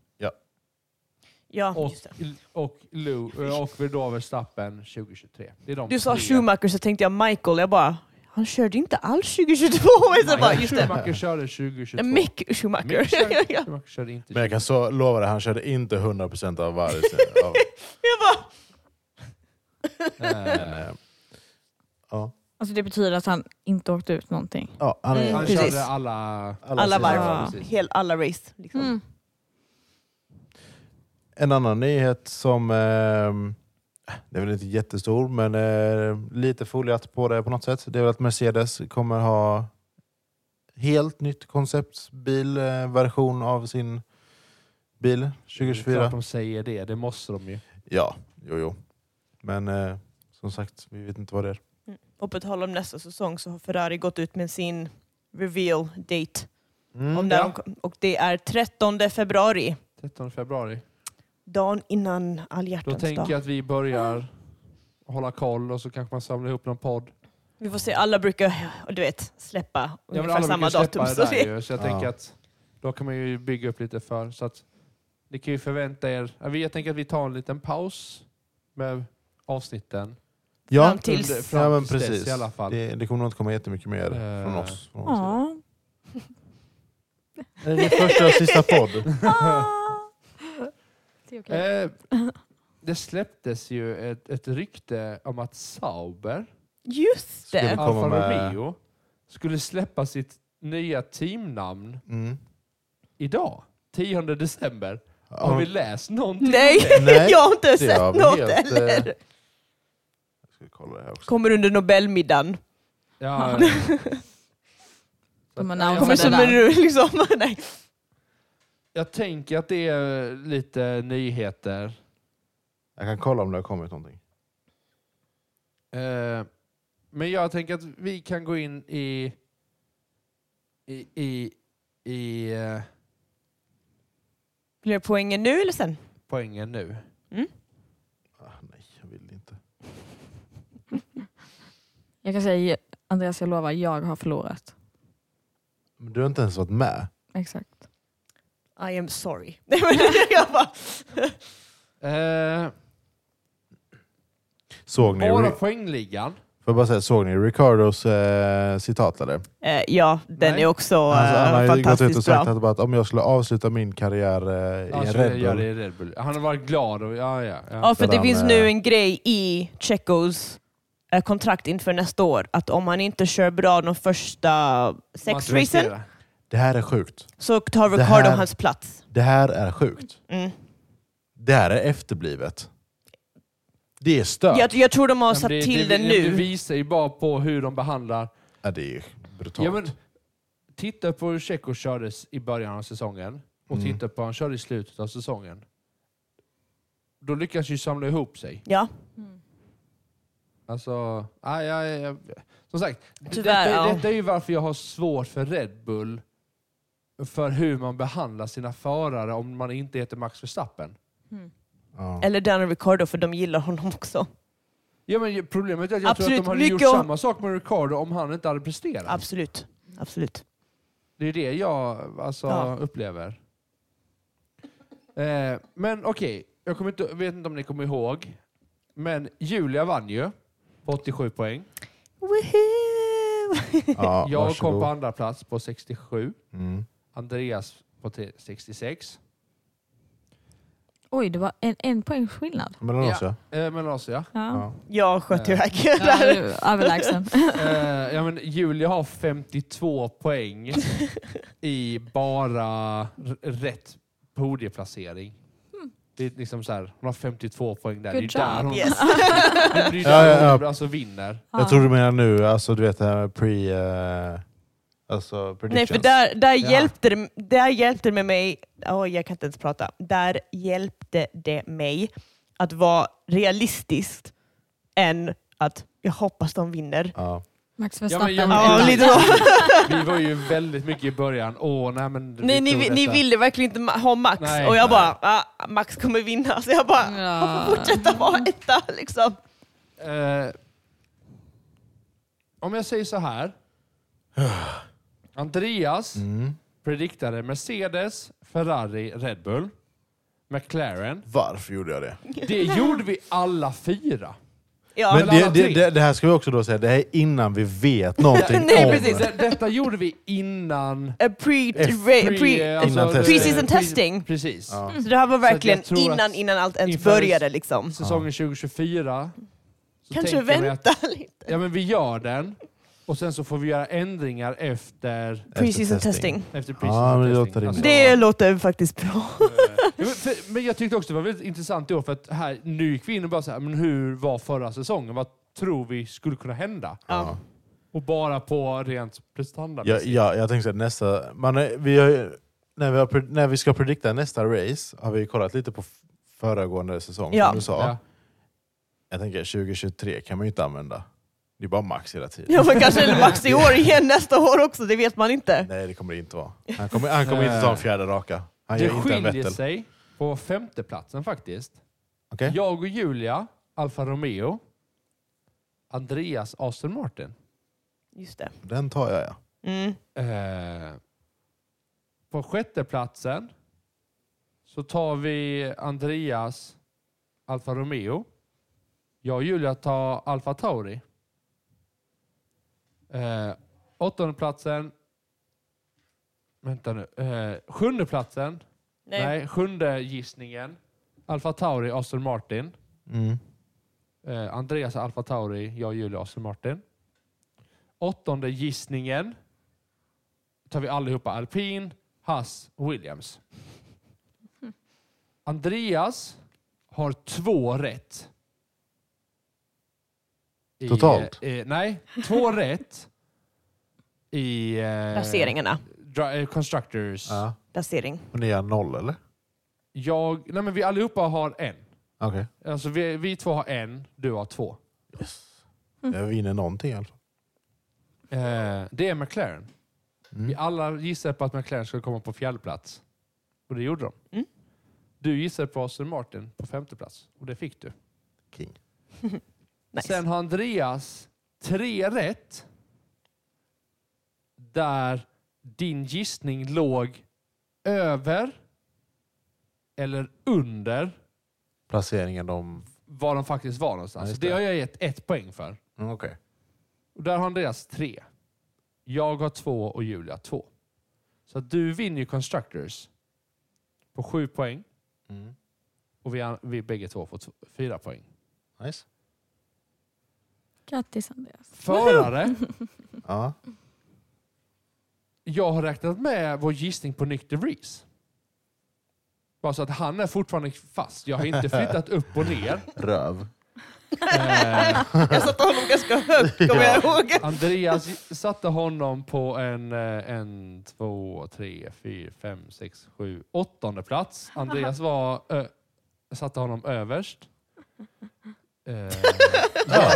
S3: Ja,
S2: Och,
S3: just det.
S2: och, Lew- eh, och Verstappen Verstappen 2023. Det är de
S3: Du sa
S2: tre.
S3: Schumacher så tänkte jag Michael. Jag bara, han körde inte alls 2022. (laughs) Jag bara,
S2: Nej,
S3: just det.
S2: Schumacher körde 2022.
S3: Mick Schumacher.
S2: Mick körde,
S3: (laughs) Ja.
S2: Schumacher körde inte
S1: Men jag kan så lova dig, han körde inte 100% av varje. Av,
S3: Jag bara,
S1: men,
S2: Eh,
S1: eh, ja.
S4: Alltså det betyder att han inte åkte ut någonting.
S1: Ja, han är,
S4: Mm.
S2: Han
S3: Precis.
S2: körde alla...
S3: alla
S1: sina
S4: varv.
S3: varv.
S2: Ja, precis.
S3: Hel, alla race. Liksom.
S4: Mm.
S1: En annan nyhet som eh, det är väl inte jättestor, men eh, lite foliat på det på något sätt. Det är väl att Mercedes kommer ha helt nytt konceptbilversion eh, version av sin bil
S2: Det är Mm, klart
S1: 2024.
S2: de säger det, det måste de ju.
S1: Ja, jo, jo. Men eh, som sagt, vi vet inte vad det är.
S3: Och på tal om nästa säsong så har Ferrari gått ut med sin reveal date.
S1: Mm,
S3: om när
S1: ja.
S3: de kom- och det är 13 februari,
S2: 13 februari.
S3: dagen innan alla
S2: Då
S3: hjärtans
S2: tänker
S3: dag.
S2: jag att vi börjar hålla koll och så kanske man samlar ihop någon podd.
S3: Vi får se, alla brukar du vet, släppa
S2: Ja, men
S3: ungefär
S2: alla
S3: samma
S2: brukar släppa
S3: datum. Så
S2: det där
S3: det,
S2: ju, så jag
S1: Ja.
S2: tänker att då kan man ju bygga upp lite för. Så att ni kan ju förvänta er. ja, vi- Jag tänker att vi tar en liten paus med avsnitten.
S1: ja.
S3: fram tills-
S2: Under- fram
S1: Ja, men
S2: tills dess
S1: precis.
S2: i alla fall.
S1: Det, det kommer nog inte komma jättemycket mer
S2: Eh.
S1: från oss. Från oss.
S4: Ja.
S1: Det är min första och sista
S2: (laughs)
S1: podd.
S4: Ah. Det är okej.
S3: (laughs)
S2: Eh, det släpptes ju ett, ett rykte om att Sauber,
S3: just
S1: Ska vi- (laughs)
S3: det!
S1: kommer
S2: Alfa
S1: med-
S2: Romeo, skulle släppa sitt nya teamnamn
S1: Mm.
S2: idag, 10 december. Har
S1: Ja,
S2: vi läst någonting?
S3: Nej,
S1: Nej,
S3: (laughs) jag har inte
S1: det har
S3: sett
S1: vi
S3: något
S1: helt,
S3: heller.
S1: eh, ska vi kolla det här också.
S3: Kommer under Nobelmiddagen.
S2: Ja,
S3: (laughs)
S2: eh,
S4: Ja.
S2: Så att-
S4: annonserar
S3: Kommer
S4: det
S3: som
S4: där.
S3: en rull (laughs) liksom. Nej.
S2: Jag tänker att det är lite nyheter.
S1: Jag kan kolla om det har kommit någonting.
S2: Eh, Men jag tänker att vi kan gå in i... i, i, i eh,
S3: Blir det poängen nu eller sen? Mm?
S2: poängen nu.
S1: Ah, nej, jag vill inte.
S4: Jag kan säga, Andreas jag lovar, jag har förlorat.
S1: Men du har inte ens varit med.
S4: Exakt.
S3: I am sorry. Nej, men (laughs) jag
S1: (laughs)
S3: bara,
S2: Eh,
S1: Såg ni,
S2: bara poängligan.
S1: får jag bara säga, såg ni Ricardos eh, citat där?
S3: eh, ja, den
S2: Nej.
S3: är också
S1: Alltså,
S3: eh,
S1: han har ju gått ut och
S3: fantastiskt
S1: sagt
S3: bra.
S1: att, bara, att om jag skulle avsluta min karriär eh, i
S2: Ja,
S1: en
S2: så
S1: Red
S2: gör
S1: Bull.
S2: det i Red Bull. Han har varit glad. Och, ja, ja, ja.
S3: Ja, för
S1: Där
S3: det
S1: han,
S3: finns
S1: eh,
S3: nu en grej i Checos eh, kontrakt inför nästa år att om han inte kör bra de första
S2: Man
S3: sex
S2: ska prestera.
S3: racen
S1: Det här är sjukt.
S3: så tar
S1: Det
S3: Ricardo
S1: här-
S3: hans plats.
S1: Det här är sjukt.
S3: Mm.
S1: Det här är efterblivet. Det är stört.
S3: Jag, jag tror de har
S2: Ja,
S3: satt
S2: men det-
S3: till
S2: det,
S3: det,
S2: Det
S3: nu.
S2: visar ju bara på hur de behandlar
S1: Ja, det är brutalt.
S2: Ja, men, titta på hur Checo kördes i början av säsongen och
S1: Mm.
S2: titta på hur han körde i slutet av säsongen. Då lyckas ju samla ihop sig.
S3: Ja,
S4: Mm.
S2: Alltså, aj, aj, aj. Som sagt, d- detta,
S3: Tyvärr, ja.
S2: detta är ju varför jag har svårt för Red Bull. För hur man behandlar sina förare om man inte heter Max Verstappen.
S4: Mm.
S1: Ja.
S3: eller Daniel Ricardo för de gillar honom också.
S2: Ja, men problemet är att jag tror
S3: Absolut,
S2: att de hade gjort
S3: mycket om-
S2: samma sak med Ricardo om han inte hade presterat.
S3: Absolut. Absolut.
S2: Det är det jag alltså,
S3: Ja.
S2: upplever. Eh, men okej, jag kommer inte, vet inte om ni kommer ihåg, men Julia vann ju på 87 poäng.
S3: Woohoo!
S1: Ja,
S2: jag kom
S1: varsågod.
S2: på andra plats på 67.
S1: Mm.
S2: Andreas på te- 66.
S4: Oj, det var en, en poängs skillnad.
S1: Mellan oss ja.
S2: Eh, men alltså ja.
S4: Ja.
S1: ja.
S3: (laughs) Jag sköt
S2: Ja.
S3: iväg.
S4: Ja,
S3: (laughs)
S4: du är överlägsen.
S2: Eh, ja men Julia har 52 poäng i bara r- rätt podieplacering. Det är liksom så här, hon har 52 poäng där.
S4: Good
S2: det är där
S4: job.
S2: hon (laughs)
S3: Yes.
S2: Men det är ju
S1: Ja,
S2: där
S1: ja,
S2: hon alltså vinner.
S4: Ja.
S1: Jag tror du menar nu, alltså du vet det här med pre... Eh, alltså
S3: Nej,
S1: predictions.
S3: för där, där,
S2: Ja.
S3: hjälpte det, där hjälpte det med mig, Oj, jag kan inte ens prata, där hjälpte det mig att vara realistiskt än att jag hoppas de vinner.
S1: Ja.
S4: Max
S2: Ja, men
S4: Verstappen.
S2: jag-
S3: Ja, lite så.
S2: (laughs) Vi var ju väldigt mycket i början. Åh, nej men... vi
S3: Nej,
S2: tog
S3: ni, ni
S2: detta.
S3: ville verkligen inte ma- ha Max
S2: Nej,
S3: och jag
S2: nej.
S3: bara, ah, Max kommer vinna. Så jag bara,
S4: Ja.
S3: han får fortsätta vara etta liksom.
S2: Eh, om jag säger så här. (sighs) Andreas
S1: Mm.
S2: prediktade Mercedes, Ferrari, Red Bull, McLaren.
S1: Varför gjorde jag det?
S2: Det gjorde vi alla fyra.
S3: Ja.
S1: Men
S2: Men
S1: det,
S2: alla
S1: det,
S2: tre.
S1: det, det här ska vi också då säga, det här är innan vi
S3: (laughs)
S1: vet någonting
S3: Nej,
S1: om...
S3: precis.
S2: Det, detta gjorde vi innan...
S3: Eh, pre,
S1: F-
S3: re, pre,
S2: eh, alltså,
S1: Innan testing.
S3: Pre-season testing.
S2: Precis.
S1: Ja.
S3: så det här var
S2: jag
S3: verkligen
S2: tror att
S3: innan, innan allt ens
S2: inför-
S3: började liksom.
S2: Säsongen 2024. så
S3: Kanske
S2: tänker jag mig
S3: vänta lite.
S2: Ja, men vi gör den. Och sen så får vi göra ändringar efter,
S3: Preseason
S1: testing.
S3: testing.
S2: efter
S1: Ja, men det
S2: testing.
S1: låter rimligt.
S2: (laughs)
S3: Det låter faktiskt bra.
S2: Ja, men, Alltså, Eh, för, men jag tyckte också det var väldigt intressant i år för att här, nu gick vi in och bara så här, men hur var förra säsongen? Vad tror vi skulle kunna hända?
S1: Ja.
S2: Och bara på rent
S1: Ja,
S2: prestandamässigt.
S1: ja, jag tänkte att nästa... Man, är- vi har, ju- när, vi har, pre- när vi ska predikta nästa race har vi kollat lite på f- föregående säsong
S3: Ja.
S1: som du sa.
S2: Ja.
S1: Jag tänker 2023 kan man ju inte använda. Det är bara max hela tiden.
S3: Ja,
S1: (laughs)
S3: men kanske är max i år igen nästa år också, det vet man inte.
S1: Nej, det kommer det inte vara. Han kommer, han kommer inte ta en fjärde raka. Han
S2: Det
S1: gör inte en
S2: skiljer
S1: Vettel.
S2: sig på femteplatsen faktiskt.
S1: Okej?
S2: Jag och Julia, Alfa Romeo, Andreas Aston Martin.
S3: Just det.
S1: Den tar jag, ja.
S3: Mm.
S2: Eh, på sjätteplatsen så tar vi Andreas Alfa Romeo. Jag och Julia tar Alfa Tauri. Eh, åttondeplatsen. Vänta nu. Eh, sjundeplatsen. Nej.
S3: Nej.
S2: sjunde gissningen. Alfa Tauri, Aston Martin.
S1: Mm.
S2: Eh, Andreas Alfa Tauri, jag Julia Aston Martin. Åttonde gissningen tar vi allihopa alpin, Haas och Williams. Andreas har två rätt. I,
S1: Totalt?
S2: Eh, nej, två rätt i eh,
S3: Placeringarna.
S2: dra- eh, Constructors.
S1: Ja.
S3: Placering.
S1: Och ni har noll, eller?
S2: Jag, nej men vi allihopa har en.
S1: Okej.
S2: Alltså vi, vi två har en, du har två.
S1: Jag vinner någonting i alla fall.
S2: Eh, det är McLaren. Vi
S1: Mm.
S2: alla gissade på att McLaren skulle komma på fjärde plats. Och det gjorde de.
S3: Mm.
S2: Du gissade på Aston Martin på femte plats. Och det fick du.
S1: King.
S3: Nice.
S2: Sen har Andreas tre rätt. Där din gissning låg över eller under
S1: Placeringen de...
S2: vad de faktiskt var någonstans.
S1: Ja, just
S2: det.
S1: det.
S2: har jag gett ett poäng för.
S1: Mm, Okej.
S2: Och där har Andreas tre. Jag har två och Julia två. Så att du vinner ju Constructors på sju poäng
S1: Mm.
S2: och vi, vi bägge två får t- fyra poäng.
S1: Nice.
S4: Grattis Andreas.
S2: Förare,
S1: Ja.
S2: (laughs) jag har räknat med vår gissning på Nick DeVries. Bara så att han är fortfarande fast. Jag har inte flyttat upp och ner.
S1: Röv.
S2: Eh,
S3: Jag satte honom ganska högt
S1: (laughs)
S3: kommer jag ihåg.
S2: Andreas satte honom på en, eh, en, två, tre, fyra, fem, sex, sju, åttonde plats. Andreas var, ö, satte honom överst. Eh, jag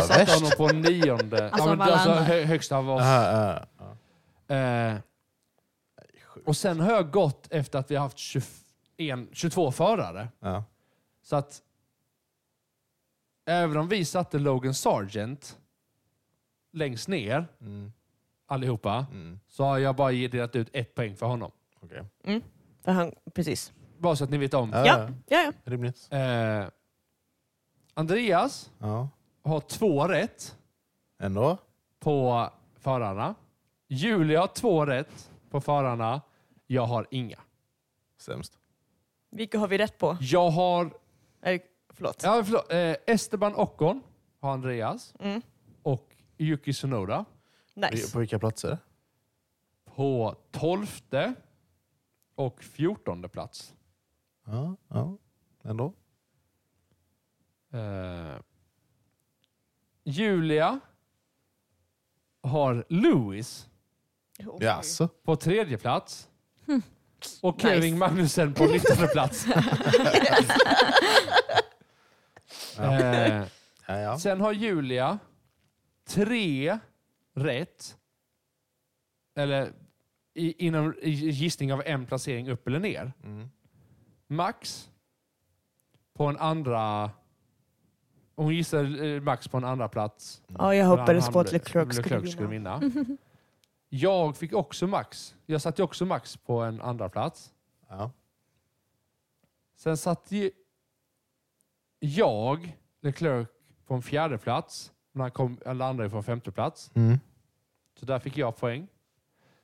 S2: satte
S1: Överst?
S2: honom på nionde.
S4: Alltså
S2: ja, men,
S4: av alla
S2: alltså,
S4: andra.
S2: hö, högst av oss.
S1: Ah, ah, ah.
S2: Eh, och sen har jag gått efter att vi har haft 21, 22 förare.
S1: Ja.
S2: Så att även om vi satte Logan Sargent längst ner
S1: Mm.
S2: allihopa
S1: Mm.
S2: så har jag bara delat ut ett poäng för honom.
S1: Okej.
S3: För han, precis.
S2: Bara så att ni vet om.
S1: Ja,
S3: Ja. Ja, ja.
S1: Rimligt.
S2: Eh, Andreas
S1: Ja.
S2: har två rätt
S1: Ändå.
S2: på förarna. Julia har två rätt på förarna. Jag har inga.
S1: Sämst.
S3: Vilka har vi rätt på?
S2: Jag har...
S3: Eller, förlåt.
S2: Ja, förlåt, eh, Esteban Ocon har Andreas
S3: Mm.
S2: och Yuki Tsunoda
S3: Nice.
S1: På vilka platser?
S2: på tolfte och fjortonde plats.
S1: Ja. ja. Ändå.
S2: Eh, Julia har Lewis
S1: Jaså?
S2: på tredje plats. Och
S3: Nice.
S2: Kevin Magnussen på nittonde plats. Eh,
S1: Ja, ja.
S2: sen har Julia tre rätt. Eller i, inom i gissning av en placering upp eller ner.
S1: Mm.
S2: Max på en andra... Hon gissade eh, Max på en andra plats.
S3: Ja, jag hoppades på att Leclerc skulle
S2: Leclerc
S3: vinna. (laughs)
S2: Jag fick också Max. Jag satte ju också Max på en andra plats.
S1: Ja.
S2: Sen satte ju jag Leclerc på en fjärde plats. Men han, kom, han landade ju på en femte plats.
S1: Mm.
S2: Så där fick jag poäng.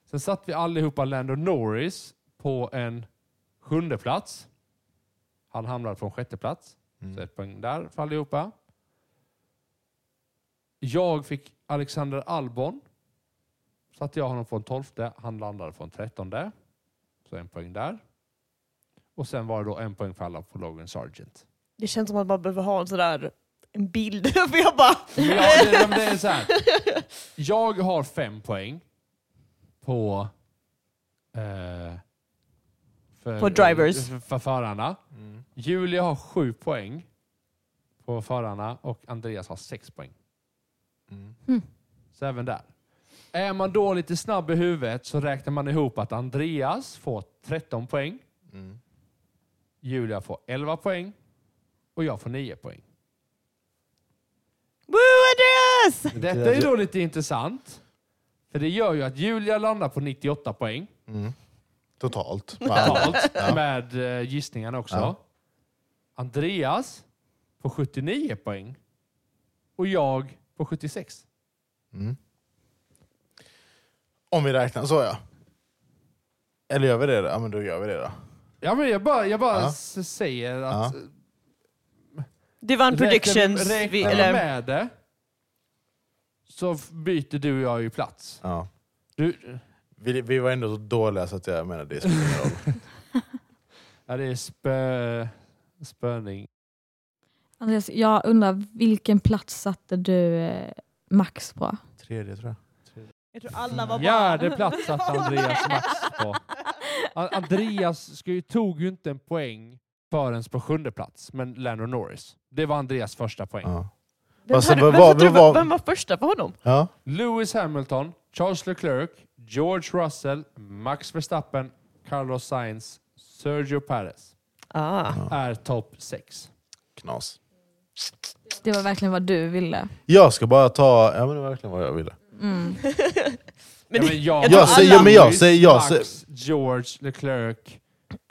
S2: Sen satt vi allihopa Lando Norris på en sjunde plats. Han hamnade på en sjätte plats. Så
S1: Mm.
S2: ett poäng där för allihopa. Jag fick Alexander Albon Satte jag honom på en tolfte, han landade på en trettonde. Så en poäng där. Och sen var det då en poäng för alla på Logan Sargent.
S3: Det känns som att man behöver ha en sån där en bild. (laughs) För jag bara...
S2: Men jag, det, men det är så här. jag har fem poäng på... Eh, för,
S3: På drivers.
S2: För, för förarna.
S1: Mm.
S2: Julia har sju poäng på förarna och Andreas har sex poäng.
S1: Mm.
S2: Så även där. Är man då lite snabb i huvudet så räknar man ihop att Andreas får 13 poäng,
S1: Mm.
S2: Julia får 11 poäng och jag får 9 poäng.
S3: Woo Andreas!
S2: Detta
S1: Mm.
S2: är då lite intressant. För det gör ju att Julia landar på 98 poäng
S1: Mm. Totalt.
S2: totalt
S1: Ja.
S2: med eh, gissningarna också.
S1: Ja.
S2: Andreas på 79 poäng och jag på 76.
S1: Mm. Om vi räknar så ja. Eller gör vi det? då? Ja men då gör vi det då.
S2: Ja, men jag bara, jag bara
S1: Ja.
S2: s- säger att...
S1: Ja.
S3: Du vann predictions.
S2: Räknar,
S3: vi,
S2: räknar
S3: eller,
S2: vi med det så f- byter du och jag ju plats.
S1: Ja.
S2: Du,
S3: (laughs)
S1: Vi, vi var ändå så dåliga så att jag menar det spelar ingen roll.
S2: ja, det är spö, spöning.
S4: Andreas, jag undrar vilken plats satte du eh, max på?
S1: (laughs) Tredje tror jag.
S3: jag tror alla var
S2: Fjärde
S3: bara...
S2: plats satt Andreas Max
S4: (laughs)
S2: på. A- Andreas ska ju, tog ju inte en poäng förrän på sjunde plats, men Lando Norris. Det var Andreas första poäng.
S1: Ja.
S3: (laughs) Vem,
S1: Alltså,
S3: hade-
S1: vad-
S3: vem,
S1: vad-
S3: satte du-
S1: vad-
S3: vem var första för honom?
S1: Ja.
S2: Lewis Hamilton, Charles Leclerc, George Russell, Max Verstappen, Carlos Sainz, Sergio Perez
S3: Ah.
S2: är topp sex.
S1: Knas.
S4: Det var verkligen vad du ville.
S1: Jag ska bara ta... Ja men det var verkligen vad jag ville.
S4: Mm.
S3: Men,
S2: ja, men jag,
S3: jag tror Jag säger- alla- men
S1: jag säger- jag
S2: Max, George, Leclerc,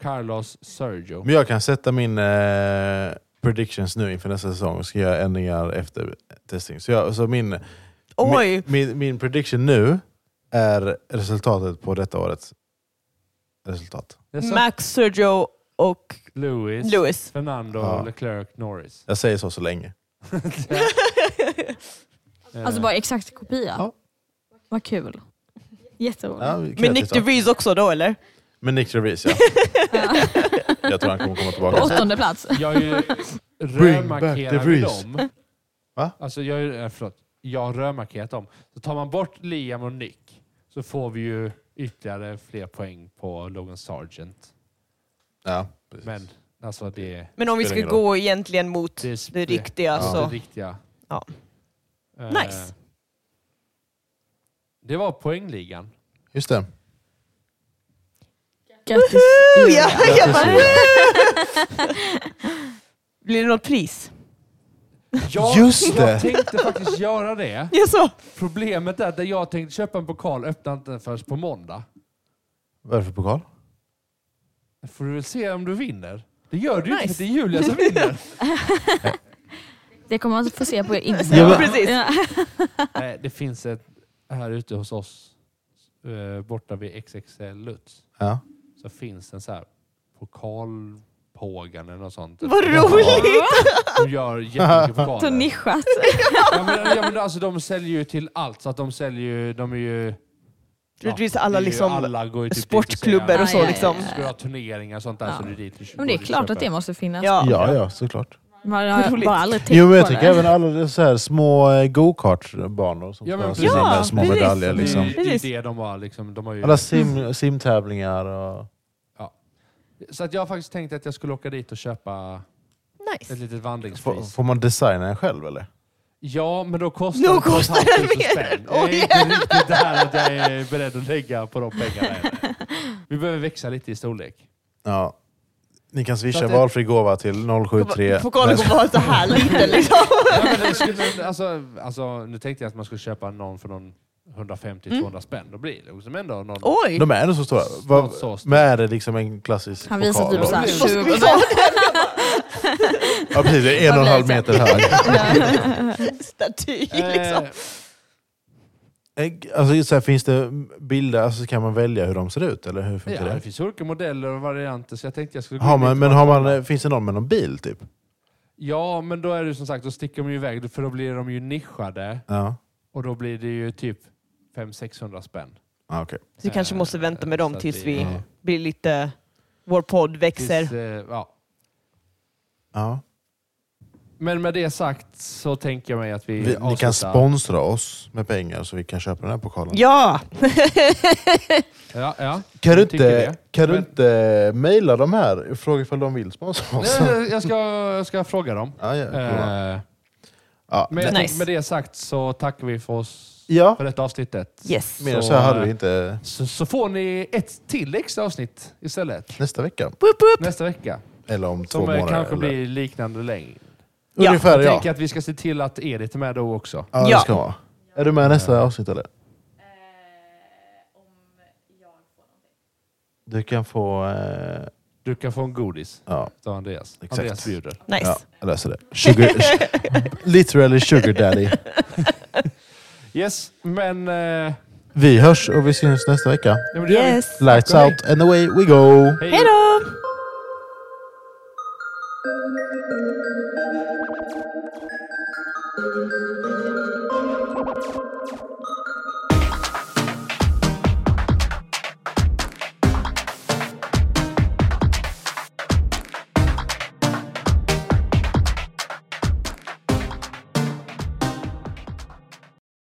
S2: Carlos, Sergio.
S1: Men jag kan sätta min eh, predictions nu inför nästa säsong och ska göra ändringar efter testing. Så, jag, så min,
S3: oj!
S1: min, min, min prediction nu är resultatet på detta årets resultat.
S2: Jag sa
S3: Max, Sergio och
S2: Lewis,
S3: Lewis.
S2: Fernando,
S1: Ja.
S2: Leclerc, Norris. (laughs)
S1: Jag säger så så länge.
S4: Alltså
S2: Eh,
S4: bara exakt kopia.
S1: Ja.
S4: Vad kul. Jätteroligt.
S1: Ja, kreativt,
S3: Men Nick
S1: ja.
S3: DeVries också då eller?
S1: Men Nick DeVries, ja. (laughs) Jag tror han kommer komma
S4: På
S1: tillbaka.
S4: åttonde plats.
S2: Eh,
S1: (laughs)
S2: Jag är ju
S1: back the
S2: rödmarkerad med
S1: breeze.
S2: dem.
S1: Va?
S2: Alltså jag, är- eh, förlåt, jag har rödmarkerat dem. Så tar man bort Liam och Nick så får vi ju ytterligare fler poäng på Logan Sargent.
S1: Ja, precis.
S2: Men alltså det,
S3: Men om vi
S1: Spelar
S3: ska
S1: ingen
S3: gå egentligen mot
S2: det, är
S3: det riktiga
S1: Ja.
S2: det
S3: så...
S2: riktiga.
S3: Alltså. Ja.
S2: Eh,
S3: Nice.
S2: Det var
S3: (laughs)
S2: poängligan.
S1: Just det.
S4: Grattis
S3: Woo!
S4: Julia.
S3: (laughs) Ja, jag bara,
S1: Grattis,
S3: woo! (laughs) Blir det något pris?
S2: Jag,
S1: Just det.
S2: jag tänkte faktiskt göra det.
S3: Ja, så.
S2: Problemet är att där jag tänkte köpa en pokal öppnar inte den förrän på måndag.
S1: Varför pokal?
S2: Då får du väl se om du vinner. Det gör du ju inte
S3: Nice.
S2: för det är Julia som vinner.
S3: (laughs)
S4: (laughs) Det kommer man få se på er
S1: Ja,
S4: Instagram.
S1: men-
S3: precis.
S4: Ja.
S2: Nej, det finns ett här ute hos oss eh, borta vid XXL Lutz.
S1: Ja.
S2: Så finns en så här pokalpågan eller något sånt.
S3: Vad roligt!
S2: De gör jättemycket pokaler.
S3: (laughs)
S4: Så nischat.
S2: Ja, men, ja, men alltså, de säljer ju till allt. Så att de säljer ju... De är ju
S3: Troligtvis
S2: det
S3: alla
S2: är ju
S3: liksom...
S2: alla går ju typ dit och
S3: sportklubbar
S4: och så,
S2: säger,
S4: liksom.
S2: Ska du ha turneringar och sånt där
S4: Ja.
S2: så är det dit du
S4: Men det är klart att det måste finnas.
S3: Ja.
S1: Ja, ja, såklart.
S4: Man har
S3: Roligt.
S4: bara aldrig tänkt
S1: Jo, men jag
S4: på
S1: tycker
S3: (laughs)
S4: (laughs) det.
S1: även alla de så här små eh, go-kartbanor som
S2: Ja, men
S1: ska ha
S2: precis.
S1: sina
S3: Ja,
S1: små
S3: precis.
S1: medaljer. Liksom.
S2: Det, är- det är
S3: Precis.
S2: det de har liksom. De har ju,
S1: Alla sim, simtävlingar och...
S2: så att jag har faktiskt tänkt att jag skulle åka dit och köpa ett
S3: Nice.
S2: litet
S1: Får,
S2: vandringspris.
S1: får man designa en själv eller?
S2: Ja, men då kostar
S3: Då
S2: det på ett
S3: kostar det
S2: halvt tusen
S3: mer.
S2: spänn. Jag är
S3: Oj.
S2: inte riktigt där att jag är beredd att lägga på de pengarna
S3: (laughs)
S2: än. Vi behöver växa lite i storlek.
S1: Ja. Ni kan
S2: Så
S1: swisha
S2: att det-
S1: valfri gåva till 073...
S3: Pokalen kommer vara så här
S2: (laughs)
S3: liten liksom.
S2: Ja, men det skulle, alltså, alltså, nu tänkte jag att man skulle köpa någon för någon 150-200 spänn. Då blir det liksom ändå någon...
S3: Mm. Oj!
S1: De är ändå så stora.
S2: Så- så
S1: Vad,
S2: stora.
S1: men är det liksom en klassisk
S4: Han visar typ
S1: pokal?
S4: såhär
S2: Vad
S4: 20
S1: Ja precis, det är en och en halv meter hög.
S3: Eh, Staty liksom.
S2: Eh,
S1: Eh, Alltså, så här, finns det bilder, alltså, kan man välja hur de ser ut? Eller hur
S2: ja,
S1: funkar
S2: det
S1: det?
S2: finns olika modeller och varianter så jag tänkte jag skulle... gå
S1: Har
S2: in
S1: man,
S2: lite
S1: men
S2: på-
S1: har man, eh, finns det någon med någon bil typ?
S2: Ja, men då är det som sagt, då sticker de ju iväg för då blir de ju nischade
S1: Ja.
S2: och då blir det ju typ 500-600 spänn.
S1: Ah, okej.
S3: Så vi kanske
S2: Eh,
S3: måste vänta med dem
S2: så att
S3: tills
S2: det-
S3: vi
S1: Ja.
S3: blir lite... Vår podd växer.
S2: Tills, eh, ja.
S1: Ja.
S2: Men med det sagt så tänker jag mig att vi,
S1: Vi, ni
S2: avslutar.
S1: kan sponsra oss med pengar så vi kan köpa den här pokalen.
S3: Ja!
S2: Ja, ja.
S1: Kan du
S2: Jag tycker
S1: inte,
S2: det.
S1: kan du
S2: Men-
S1: inte mejla de här och fråga ifall de vill sponsra oss?
S2: Nej, nej, jag, ska, jag ska fråga dem.
S1: (laughs) Ja, ja, bra.
S2: Eh,
S1: ja,
S2: men jag
S1: nej.
S2: tänker med det sagt så tackar vi för oss
S1: ja.
S2: för detta avsnittet.
S3: Yes.
S1: mer än så
S2: så,
S1: här hade
S2: eh,
S1: vi inte
S2: Så, så får ni ett till extra avsnitt istället
S1: nästa vecka.
S3: Woop, woop.
S2: nästa vecka.
S1: Eller om två
S2: Som eh,
S1: månader.
S2: kanske
S1: Eller.
S2: blir liknande längd.
S3: Ja,
S1: Ungefär
S2: Jag
S1: ja.
S2: tänker att vi ska se till att Edith är med då också.
S1: Ja, det
S3: Ja.
S1: ska vara. Är du med i nästa avsnitt eller? Du kan få... Eh,
S2: Du kan få en godis
S1: ja,
S2: av Andreas.
S1: Exakt.
S2: Andreas bjuder.
S3: Nice.
S1: ja, jag löser det. Sugar, literally sugar daddy.
S2: Yes, men... eh, ja,
S1: Vi hörs och vi syns nästa vecka.
S2: men det gör vi.
S3: Yes.
S1: Lights
S2: Tack och
S1: out and away we go.
S3: Hej då!